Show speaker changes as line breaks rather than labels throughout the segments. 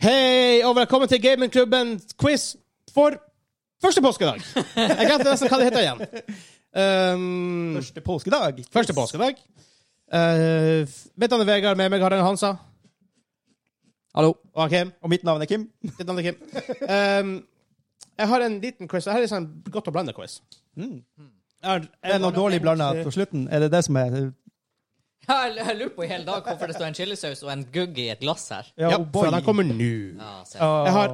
Hei, og velkommen til Gamingklubben quiz for første påskedag. Jeg glemte nesten hva det heter igjen. Um,
Første påskedag.
første påskedag. Uh, mitt navn er Vegard, med meg har jeg Hansa. Hallo. Og han Kim.
Og mitt navn er Kim.
Ditt navn er Kim. Um, jeg har en liten quiz. Dette er liksom en godt å blande-quiz. Er,
Det er noe dårlig blanda på slutten. Er det det som er
Jeg jeg lurer på i hele dag hvorfor det står en chilisaus og en gugg i et glass her.
Ja,
oh boy.
for den kommer nå.
Ja, se.
Åh.
Jeg har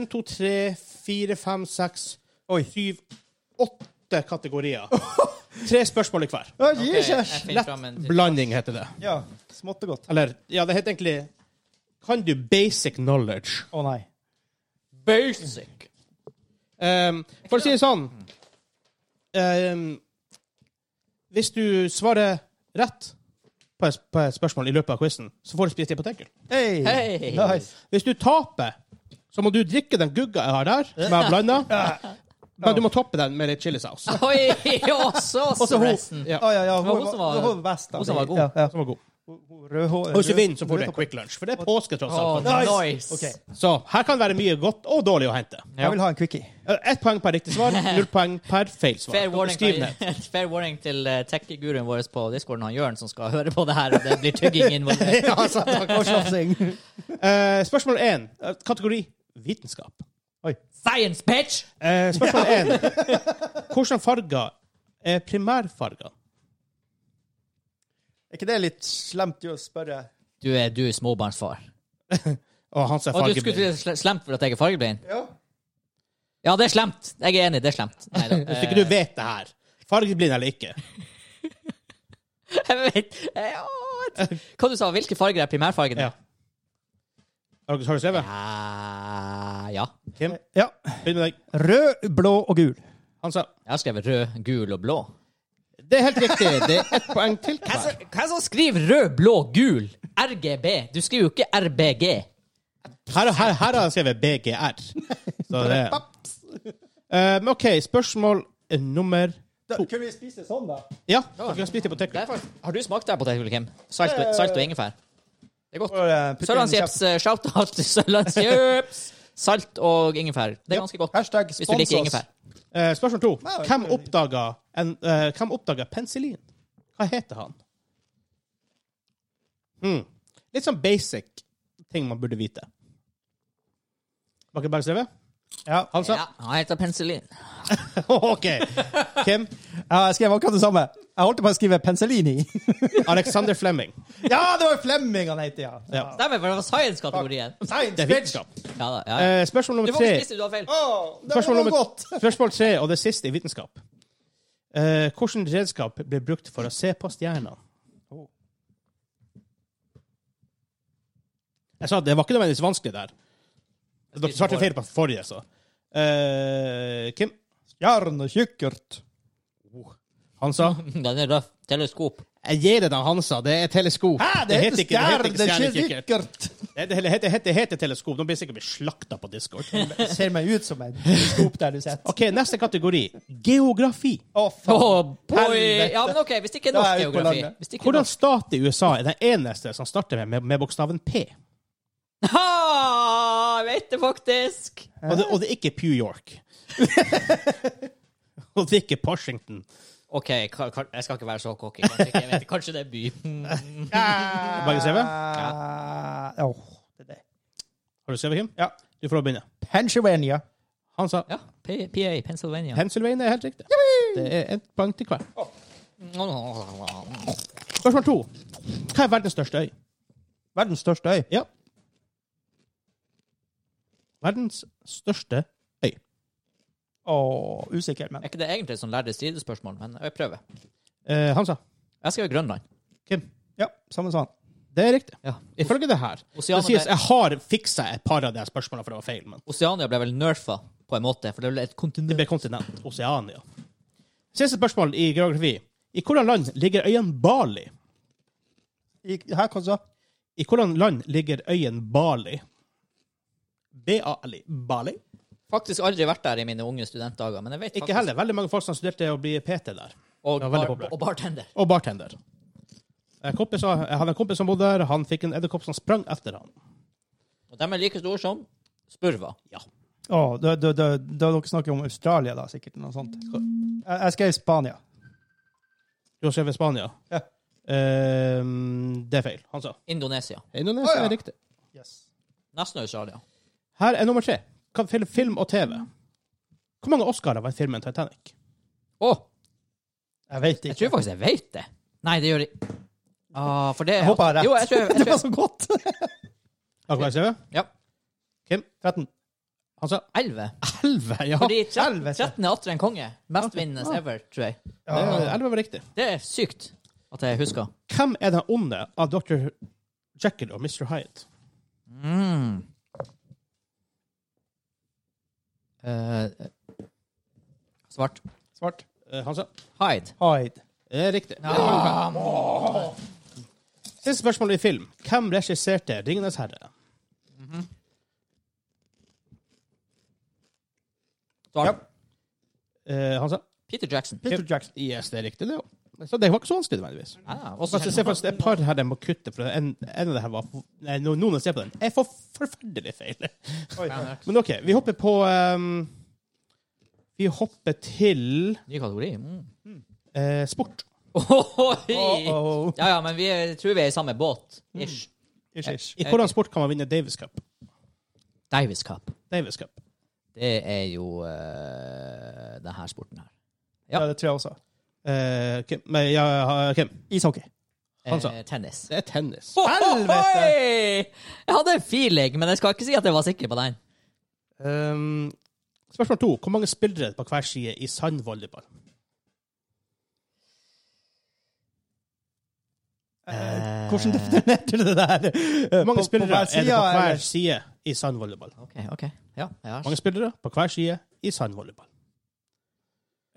én, to, tre, fire, fem, seks,
Oi.
syv, åtte kategorier. Tre spørsmål i hver.
Å,
Ok, jeg
Jesus.
finner
Lett
fram en til.
blanding heter det.
Ja. Smått og godt.
Eller, ja, det heter egentlig Kan du basic knowledge?
Å nei.
Basic.
Um, for å si det sånn um, Hvis du svarer rett på et, på et spørsmål i løpet av quizen, så får du spise det på tenkel.
Hei!
Hei.
Nice.
Hvis du taper, så må du drikke den gugga jeg har der, som jeg har blanda, men du må toppe den med litt chilisaus. Som
Oi, og så stressen.
Ja.
Å ja, ja.
Det var
Hun,
hun som
var,
var-
hun var best. da.
hun som var god.
Ja, ja.
var god.
Hun- hun rødhå-
Og hvis du
rød-
vinner, så får du en quick lunch. For det er påske, tross
Åh,
alt.
nice.
Ok.
Så her kan det være mye godt og dårlig å hente. Eh,
Jeg vil ha en quickie.
Ett poeng per riktig svar, null poeng per feil svar.
Fair warning,
Skriv ned.
fair warning til eh, tech-guruen vår på discorden, han Jørn, som skal høre på det her. og Det blir tygging involvert.
Ja, altså, takk.
Og slafsing.
Eh, spørsmål én. eh, Kategori vitenskap.
Science, bitch!
Eh, spørsmål én. Hvilke farger er primærfarger?
Er ikke det litt slemt å spørre?
Du er, du er småbarnsfar.
Og hans er
Og du skulle
fargeblind.
til å si sle- slemt for at jeg er fargeblind?
Ja.
Ja, det er slemt. Jeg er enig, det er slemt. Neida.
Hvis ikke du vet det her. Fargeblind eller ikke.
Jeg vet ja, jeg vet. Hva du sa Hvilke farger er primærfargene?
Ja. Har du har du skrevet?
Ah, Ja. ja.
Kim,
ja.
begynn med deg.
Rød, blå og gul.
Hansa.
Jeg har skrevet rød, gul og blå.
Det er helt riktig. Det er ett poeng til hver.
Hva er det som skriver rød, blå, gul? RGB. Du skriver jo ikke RBG.
Her, her, her har jeg skrevet BGR. Så det Eh, men OK, spørsmål eh, nummer
Da, kunne vi spise sånn, da?
Ja, dere kan spise det på teknikk.
Har du smakt det på Teknolog, Kim? Salt, salt og ingefær? Det er godt.
Og, eh, putte inn
Sørlandsjeps. eh, Shout-out til Sørlandsjeps. Salt og ingefær. Det er ganske
kjeft.
godt.
Hashtag
Hvis du
spons
liker
oss.
ingefær.
Eh, spørsmål to.
Nei, det er
Hvem
ikke-
oppdaga, en, eh, hvem oppdaga penicillin? Hva heter han? Mm. Litt sånn basic ting man burde vite. Var ikke det bare skrevet?
Ja.
Altså?
Ja, han heter penicillin.
OK. Kim?
Ja, jeg skrev akkurat det samme. Jeg holdt på å skrive Penselini.
Alexander Flemming.
ja, det var Flemming han het, ja.
Ja.
Stemmer, for det var science-kategorien.
Det er vitenskap.
Ja, da, ja.
Eh, spørsmål
Du
nummer
får
tre.
ikke spise, du har feil.
Å, det
Spørsmål
var
nummer-
godt.
Spørsmål tre, og det siste i vitenskap. Eh, Hvilket redskap ble brukt for å se på stjernene? Jeg sa at det var ikke nødvendigvis vanskelig der. Dere svarte feil på forrige, så. Eh, Kim?
Jarn og kikkert.
Han sa?
Den er røff. Teleskop.
Jeg gir det da han sa. Det er teleskop.
stjerne, det heter
stjernekikker.
kikkert.
Det, det, heter- heter- heter teleskop. Nå blir jeg sikkert blitt slakta på Discord.
Det ser meg ut som en skop der du sitter.
OK, neste kategori. Geografi.
Å, faen.
Oh, boy.
Helvete.
Ja, men ok, Hvis det ikke er
Da er
norsk
jeg ute på
geografi
landet.
Hvis det ikke er
Hvordan
norsk.
stat i USA er den eneste som starter med, med, med bokstaven P?
Ha, jeg vet det faktisk!
Og det, og det er ikke Pew York. og det er ikke Washington.
OK, ka- ka- jeg skal ikke være så cocky. Kanskje, ikke, jeg vet, ikke. kanskje det er by. Mm.
Bare CV?
Eh, åh, det er det.
Har du skrevet, Kim?
Ja.
Du får lov å begynne.
Pennsylvania.
Han sa
Ja, P- PA, Pennsylvania.
Pennsylvania er helt riktig. Det er ett poeng til hver.
Hva
Spørsmål to. Hva er verdens største øy?
Verdens største øy.
Ja. Verdens største øy.
Åh, usikker, men
Er ikke det egentlig sånn lærde stridespørsmål, men jeg prøver.
Eh, han sa
Jeg skrev Grønland.
Kim.
Ja, samme sånn.
Det er riktig.
Ja.
Ifølge det her. Det
Oceanet
sies
er-
jeg har fiksa et par av de her spørsmålene for det var feil, men
Oceania ble vel nerfa på en måte, for det ble et
det
kontinent.
ble kontinent. Oseania. Siste spørsmål i geografi. I hvilket land ligger øyen Bali?
I, her kan du så.
I hvilket land ligger øyen Bali? B-A-L-I. Bali?
Faktisk aldri vært der i mine unge studentdager, men jeg vet
Ikke
faktisk
heller. Veldig mange folk som studerte å bli PT der.
Og,
Ja, veldig
bar,
populært.
og bartender.
Og bartender. Eh, Jeg, kompis, jeg hadde en kompis som bodde der. Han fikk en edderkopp som sprang etter han.
Og de er like store som spurver. Ja.
Å, da, da, da, da dere snakker om Australia, da, sikkert. Noe sånt. Jeg, jeg skrev Spania.
Du har skrevet Spania.
Ja.
Ehm, det er feil, han sa.
Indonesia.
Indonesia
Å, ja.
er riktig.
Nesten Australia.
Her er nummer tre. Hva- fil- Film og TV. Hvor mange Oscarer vant filmen Titanic?
Å,
Jeg vet
jeg
ikke.
tror faktisk jeg vet det. Nei, det gjør jeg ah, For det
Jeg håper jeg har rett.
Jo, jeg tror jeg, jeg,
det var
tror
så godt!
Akkurat TV?
Ja.
Kim?
13.
Han sa
jeg 11.
11, ja.
Fordi tre-
helvete.
13 er atter en konge. Mestvinnende ever, tror jeg.
Det er- 11 var riktig.
Det er sykt at jeg husker.
Hvem er den onde av Dr. Jekyll og Mr. Hyde?
Mm. Eh, svart.
Svart.
Eh, han sa
Hyde.
Hyde.
det er riktig.
Ah,
Siste spørsmål i film. Hvem regisserte 'Ringenes herre'?
svart.
Eh, han sa
Peter Jackson.
Peter Jackson.
Yes, det er riktig, det òg. Så det var ikke så vanskelig, nødvendigvis.
Ah,
Og så ser jeg faktisk et par her jeg må kutte, for en, en av det her var nei, no- Noen av ser på den. Jeg får forferdelig feil.
Oi.
Men OK, vi hopper på ehm, Vi hopper til
Ny kategori. Mm.
eh, sport.
Ohoi!
Oh,
Ja, ja, men vi er, tror vi er i samme båt.
Mm.
Ish.
ish, ish.
I hvordan sport kan man vinne Davis Cup?
Davis Cup.
Davis Cup.
Det er jo eh, den her sporten her. Ja.
Ja. det tror jeg også.
Eh, Kim, nei, ja, ha- Kim,
Ishockey. Sånn,
Han sa-
Eh, tennis.
det er tennis.
Ohoi! Jeg hadde en feeling, men jeg skal ikke si at jeg var sikker på den.
Ehm, spørsmål to. Hvor mange spillere på hver side i sandvolleyball?
Eh, hvordan definerte du det der? Eh,
Hvor mange
på
spillere
hver
er det
side,
på hver
eller?
side i sandvolleyball? Hvor
Ok, ok. Ja, jeg har
mange spillere på hver side i sandvolleyball?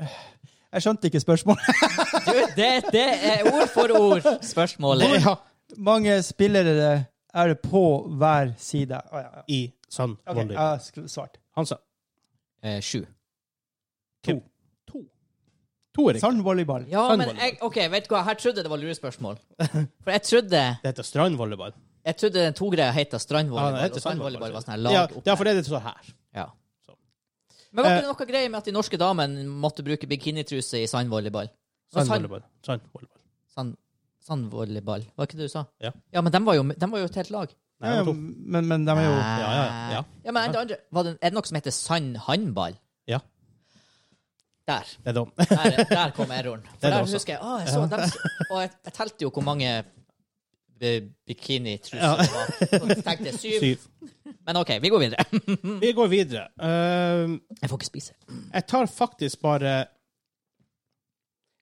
Jeg skjønte ikke spørsmålet.
Du, det, det er ord for ord spørsmålet.
Ja,
mange spillere er det på hver side. Å, ja, ja.
I
Ok, uh,
sandvolleyball.
jeg skrev svart.
Han sa
Eh, sju.
Kim. To. To er riktig.
Sandvolleyball.
Ja, men jeg, ok, vet du hva? Her trodde jeg det var lurespørsmål. For jeg trodde,
Det heter strandvolleyball.
jeg trodde den to-greia het
Ja, det
strandvolleyball,
heter
og strandvolleyball var sånn her
Ja,
lag
det er fordi det står her.
Ja.
Så. Eh.
Men var ikke det noe greie med at de norske damene måtte bruke bikinitruse i sandvolleyball? Og Sand,
Sandvolleyball. Sandvolleyball.
sand, sandvolleyball, var ikke det du sa?
Ja.
men de var jo, dem var jo et helt lag.
Nei, det var to.
Eh, men, men de er jo
Ah.
ja, ja, ja.
men det andre, var det, er det noe som heter sandhåndball?
Ja,
Der.
det er dem.
Der, der kom erroren.
er
For
det
der
også.
husker jeg, ah, jeg så dem, og jeg, jeg telte jo hvor mange bi- bikinitruser
Ja.
det var. Og jeg tenkte syv.
Syv.
Men OK, vi går videre.
Vi går videre. Ehm,
Jeg får ikke spise.
jeg tar faktisk bare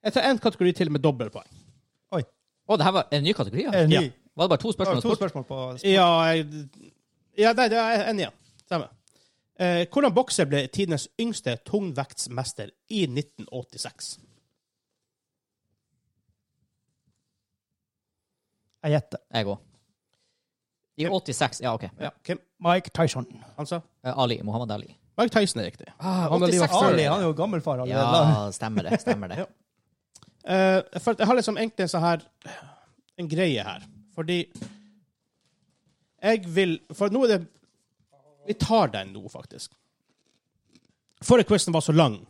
Jeg tar én kategori til med dobbeltpoeng.
Oi.
Å, det her var en ny kategori? Ja.
Er det Eh, ny?
Ja.
Var det bare to
Det var
spørsmål?
to spørsmål på
Ja, jeg, ja nei, det er en igjen. Stemmer. Eh, hvordan bokser ble tidenes yngste tungvektsmester i 1986?
Jeg gjetter.
Jeg òg. I 86. Ja, OK. Ja.
Kim?
Mike Tyson.
Han sa
Eh, Ali. Mohammed Ali.
Mike Tyson er riktig. Han har
86
livet
Ali han er jo gammelfar allerede.
Ja, stemmer det. Stemmer det.
Eh, for jeg har liksom egentlig en sånn her En greie her. Fordi jeg vil For nå er det Vi tar den nå, faktisk. Forrige quizen var så lang.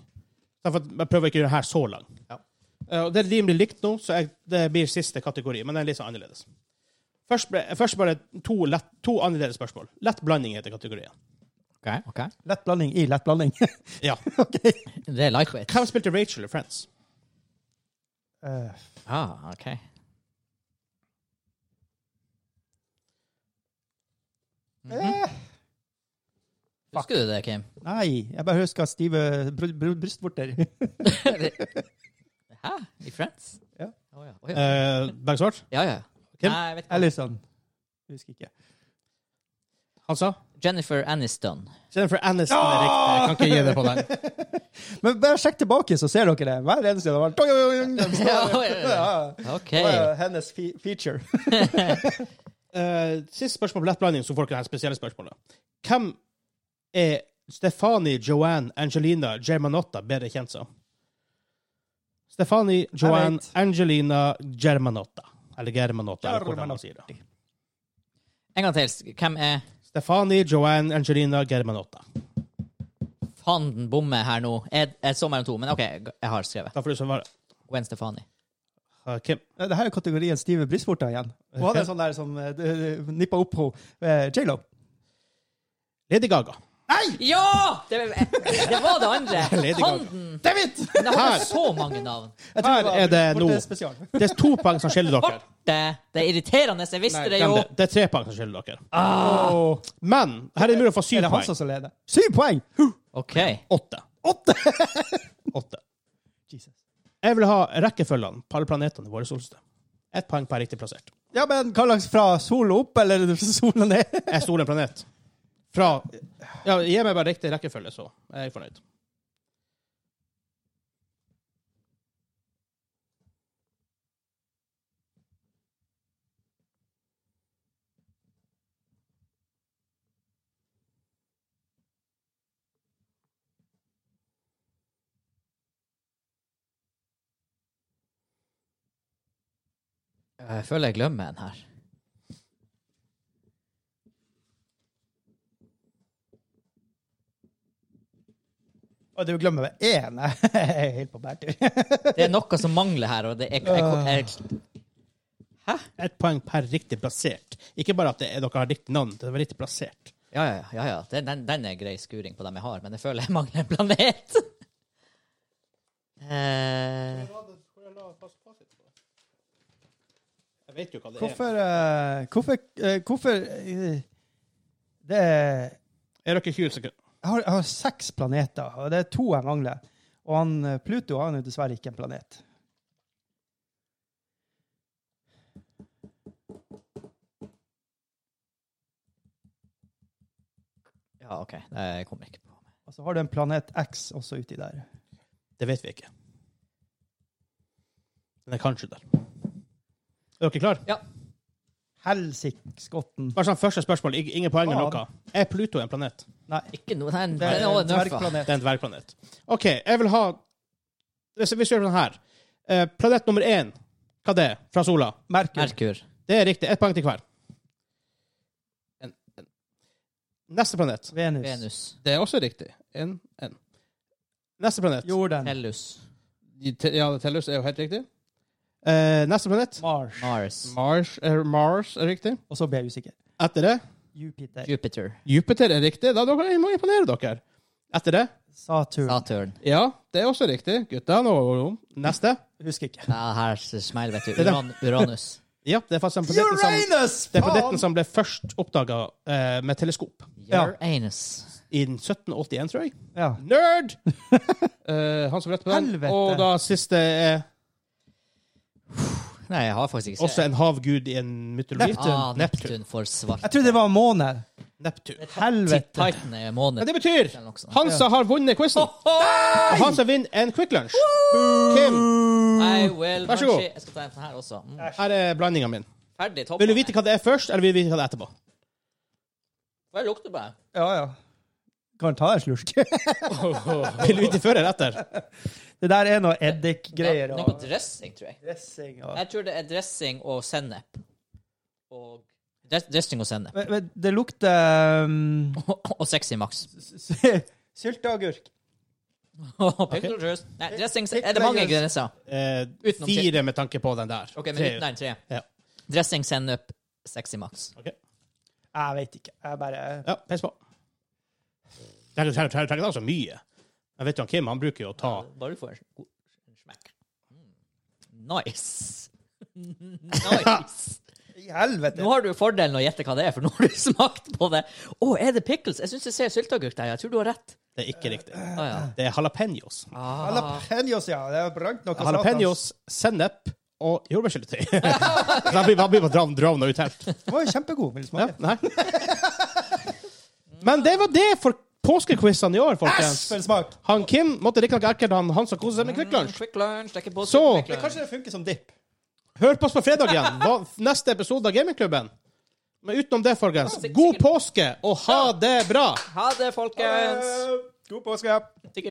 Derfor at jeg prøver ikke å gjøre den her så lang.
Ja.
Eh, og det er rimelig likt nå, så jeg, det blir siste kategori. Men den er litt sånn annerledes. Først, ble, først bare to, lett, to annerledes spørsmål. Lett blanding heter kategorien.
Ok, ok.
Lett blanding i lett blanding.
Ja.
Det er lightweight.
Hvem spilte Rachel i Friends?
Eh,
Ah, ok.
eh,
Mhm. Husker du det, Kim?
nei, jeg bare husker stive br br brystvorter.
Hæ? I Friends?
Ja.
Å ja. Å ja.
Eh, Begge svart?
ja, ja.
Kim?
Nei, jeg vet ikke.
Eller sånn. Husker ikke.
Han sa?
Jennifer Aniston.
Jennifer Aniston er riktig. Jeg kan ikke gi det på den.
Men bare sjekk tilbake, så ser dere det. Hver eneste gang. det var-
Ja, ja, ja. OK.
Det var Hennes fe feature.
Eh, siste spørsmål på lett blanding, så får dere det her spesielle spørsmålet. Hvem er Stefani Joanne Angelina Germanotta bedre kjent som? Stefani Joanne
vet.
Angelina Germanotta. Eller Germanotta, eller hvordan man sier det.
En gang til. Hvem er
Stefani, Joanne, Angelina, Germanotta.
Faen, den bommer her nå. Jeg, jeg så mellom to, men OK, jeg har skrevet.
Da får du svare.
Gwen Stefani.
Uh, Kim.
Det her er kategorien stive brystvorter igjen. Hun hadde en sånn der som uh, nippa opp henne. eh, J.Lo.
Lady Gaga.
Ja! Det, det var det andre.
Lady Gaga.
Fanden!
David!
Det har så mange navn.
Her er det nå.
Spesial.
Det er to poeng som skiller dere.
Det, det er irriterende. Jeg visste det
Glem
jo.
det. Det er tre poeng som skiller dere.
Åh.
Men her er det mulig å få
Er
syv
det han
poeng.
som leder? Syv poeng! Huh.
OK.
Åtte. Åtte.
Jesus.
Jeg vil ha rekkefølgene på alle planetene i vår solsystem. Ett poeng per riktig plassert.
Ja, men hva slags fra sola opp eller sola ned?
Jeg stoler en planet. Fra Ja, gi meg bare riktig rekkefølge, så er jeg fornøyd.
Jeg føler jeg glemmer en her.
Og du glemmer med én. Jeg er helt på bærtur.
Det er noe som mangler her, og det er jeg, jeg, Hæ?
Ett poeng per riktig plassert. Ikke bare at det er, dere har riktig navn, det var riktig plassert.
Ja, ja, ja. ja. Den, den, den er grei skuring på dem jeg har, men jeg føler jeg mangler en planet. eh,
Jeg vet jo hva det
Hvorfor eh, Hvorfor eh, Hvorfor eh, Det er
er. Er dere 20 sekunder?
Jeg har, jeg har seks planeter, og det er to jeg mangler. Og han, eh, Pluto har jo dessverre ikke en planet.
ja, OK. Jeg kommer ikke på
Og så har du en planet X også uti der.
Det vet vi ikke. Den er kanskje der. Er dere klare?
Ja.
Helsikskotten.
Bare sånn første spørsmål. ing- Ingen poeng eller noe.
Faen.
Er Pluto en planet?
Nei,
Ikke noe Den,
det
den
er
er
en
også nerfa.
Det
dvergplanet.
er en dvergplanet. OK, jeg vil ha Hvis hvis vi gjør sånn her Eh, Planet nummer én, hva det er fra sola?
Merkur.
Merkur.
Det er riktig. Ett poeng til hver. Neste planet.
Venus.
Venus.
Det er også riktig. En, en. Neste planet.
Jorden.
Tellus.
Ja, Tellus er jo helt riktig. Eh, neste planet.
Mars.
Mars.
Mars, er- Mars er riktig.
Og så ble jeg usikker.
Etter det
Jupiter.
Jupiter.
Jupiter er riktig. Da dere jeg må imponere dere. Etter det
Saturn.
Saturn.
Ja, det er også riktig. Gutta, nå Neste.
Husker ikke.
Ja, her smeiler, vet du.
Det er
Uran, Uranus.
Ja, det er faktisk den planeten
liksom-
som,
Uranus!
det er planeten som ble først oppdaga eh, med teleskop.
Ja.
Uranus.
I 1781, tror jeg.
Ja.
Nerd! Eh, han som rett på den.
Helvete.
Og da siste er
Nei, jeg har faktisk ikke
også en havgud i en mytologi.
Neptun.
Ah, Neptun for
Jeg
svart.
trodde det var måne.
Neptun.
Helvete.
Titan er måned.
Men det betyr
eller noe sånt.
Hansa har vunnet quizen. Og Hansa vinner en Quick Lunch. Kim,
I will
Vær så god.
munchie. Jeg skal ta en sånn her også. Mm.
her er blandinga min.
Ferdig. Topp.
Vil du vite hva det er først, eller vil du vite hva det er etterpå?
Hva lukter det på?
Ja, ja. Kan ta en slurk.
Vil du vite før eller etter?
Det der er noe eddikgreier.
Noe
og
dressing, tror jeg.
dressing og
Jeg tror det er dressing og sennep. Og dress- Dressing og sennep.
Men- men Det lukter um,
Og sexy Max.
Sylteagurk.
Og pickle juice. Nei, dressing Er det mange
Pickle
ingredienser?
Eh,
Utenom
fire med tanke på den der.
OK, men
Tre.
uten den tre.
Ja.
Dressing, sennep, sexy Max.
Ok.
Jeg vet ikke. Jeg bare
Ja, pes på. Det er- det er- det er- det er ikke så mye. Jeg vet jo han Kim, han bruker jo å ta
Bare du får en god smekk. Mm. Nice. nice.
I helvete!
Nå har du fordelen å gjette hva det er, for nå har du smakt på det. Å, er det pickles? Jeg syns jeg ser sylteagurk der. Jeg tror du har rett.
Det er ikke riktig.
Ah, ja.
Det er jalapeños.
Jalapeños, ja. Det er brant noe satans.
Jalapeños, sennep og jordbærsyltetøy. Så Han blir han blir bare dra- dravna ut helt.
Den var jo kjempegod. Vil du
Ja,
smake?
nei. Men det var det for påskequizene i år, folkens.
Æsj! Smak.
Han Kim måtte riktignok erklære han Hansa koser seg med Quick Lunch.
Ah, Quick lunch, det er ikke påske.
Så-
Quick
Men
Lunch.
kanskje det funker som dipp.
Hør på oss på fredag igjen. Hva, neste episode av Gamingklubben. Men utenom det, folkens, god påske og ha det bra!
Ha det, folkens!
Eh, God påske.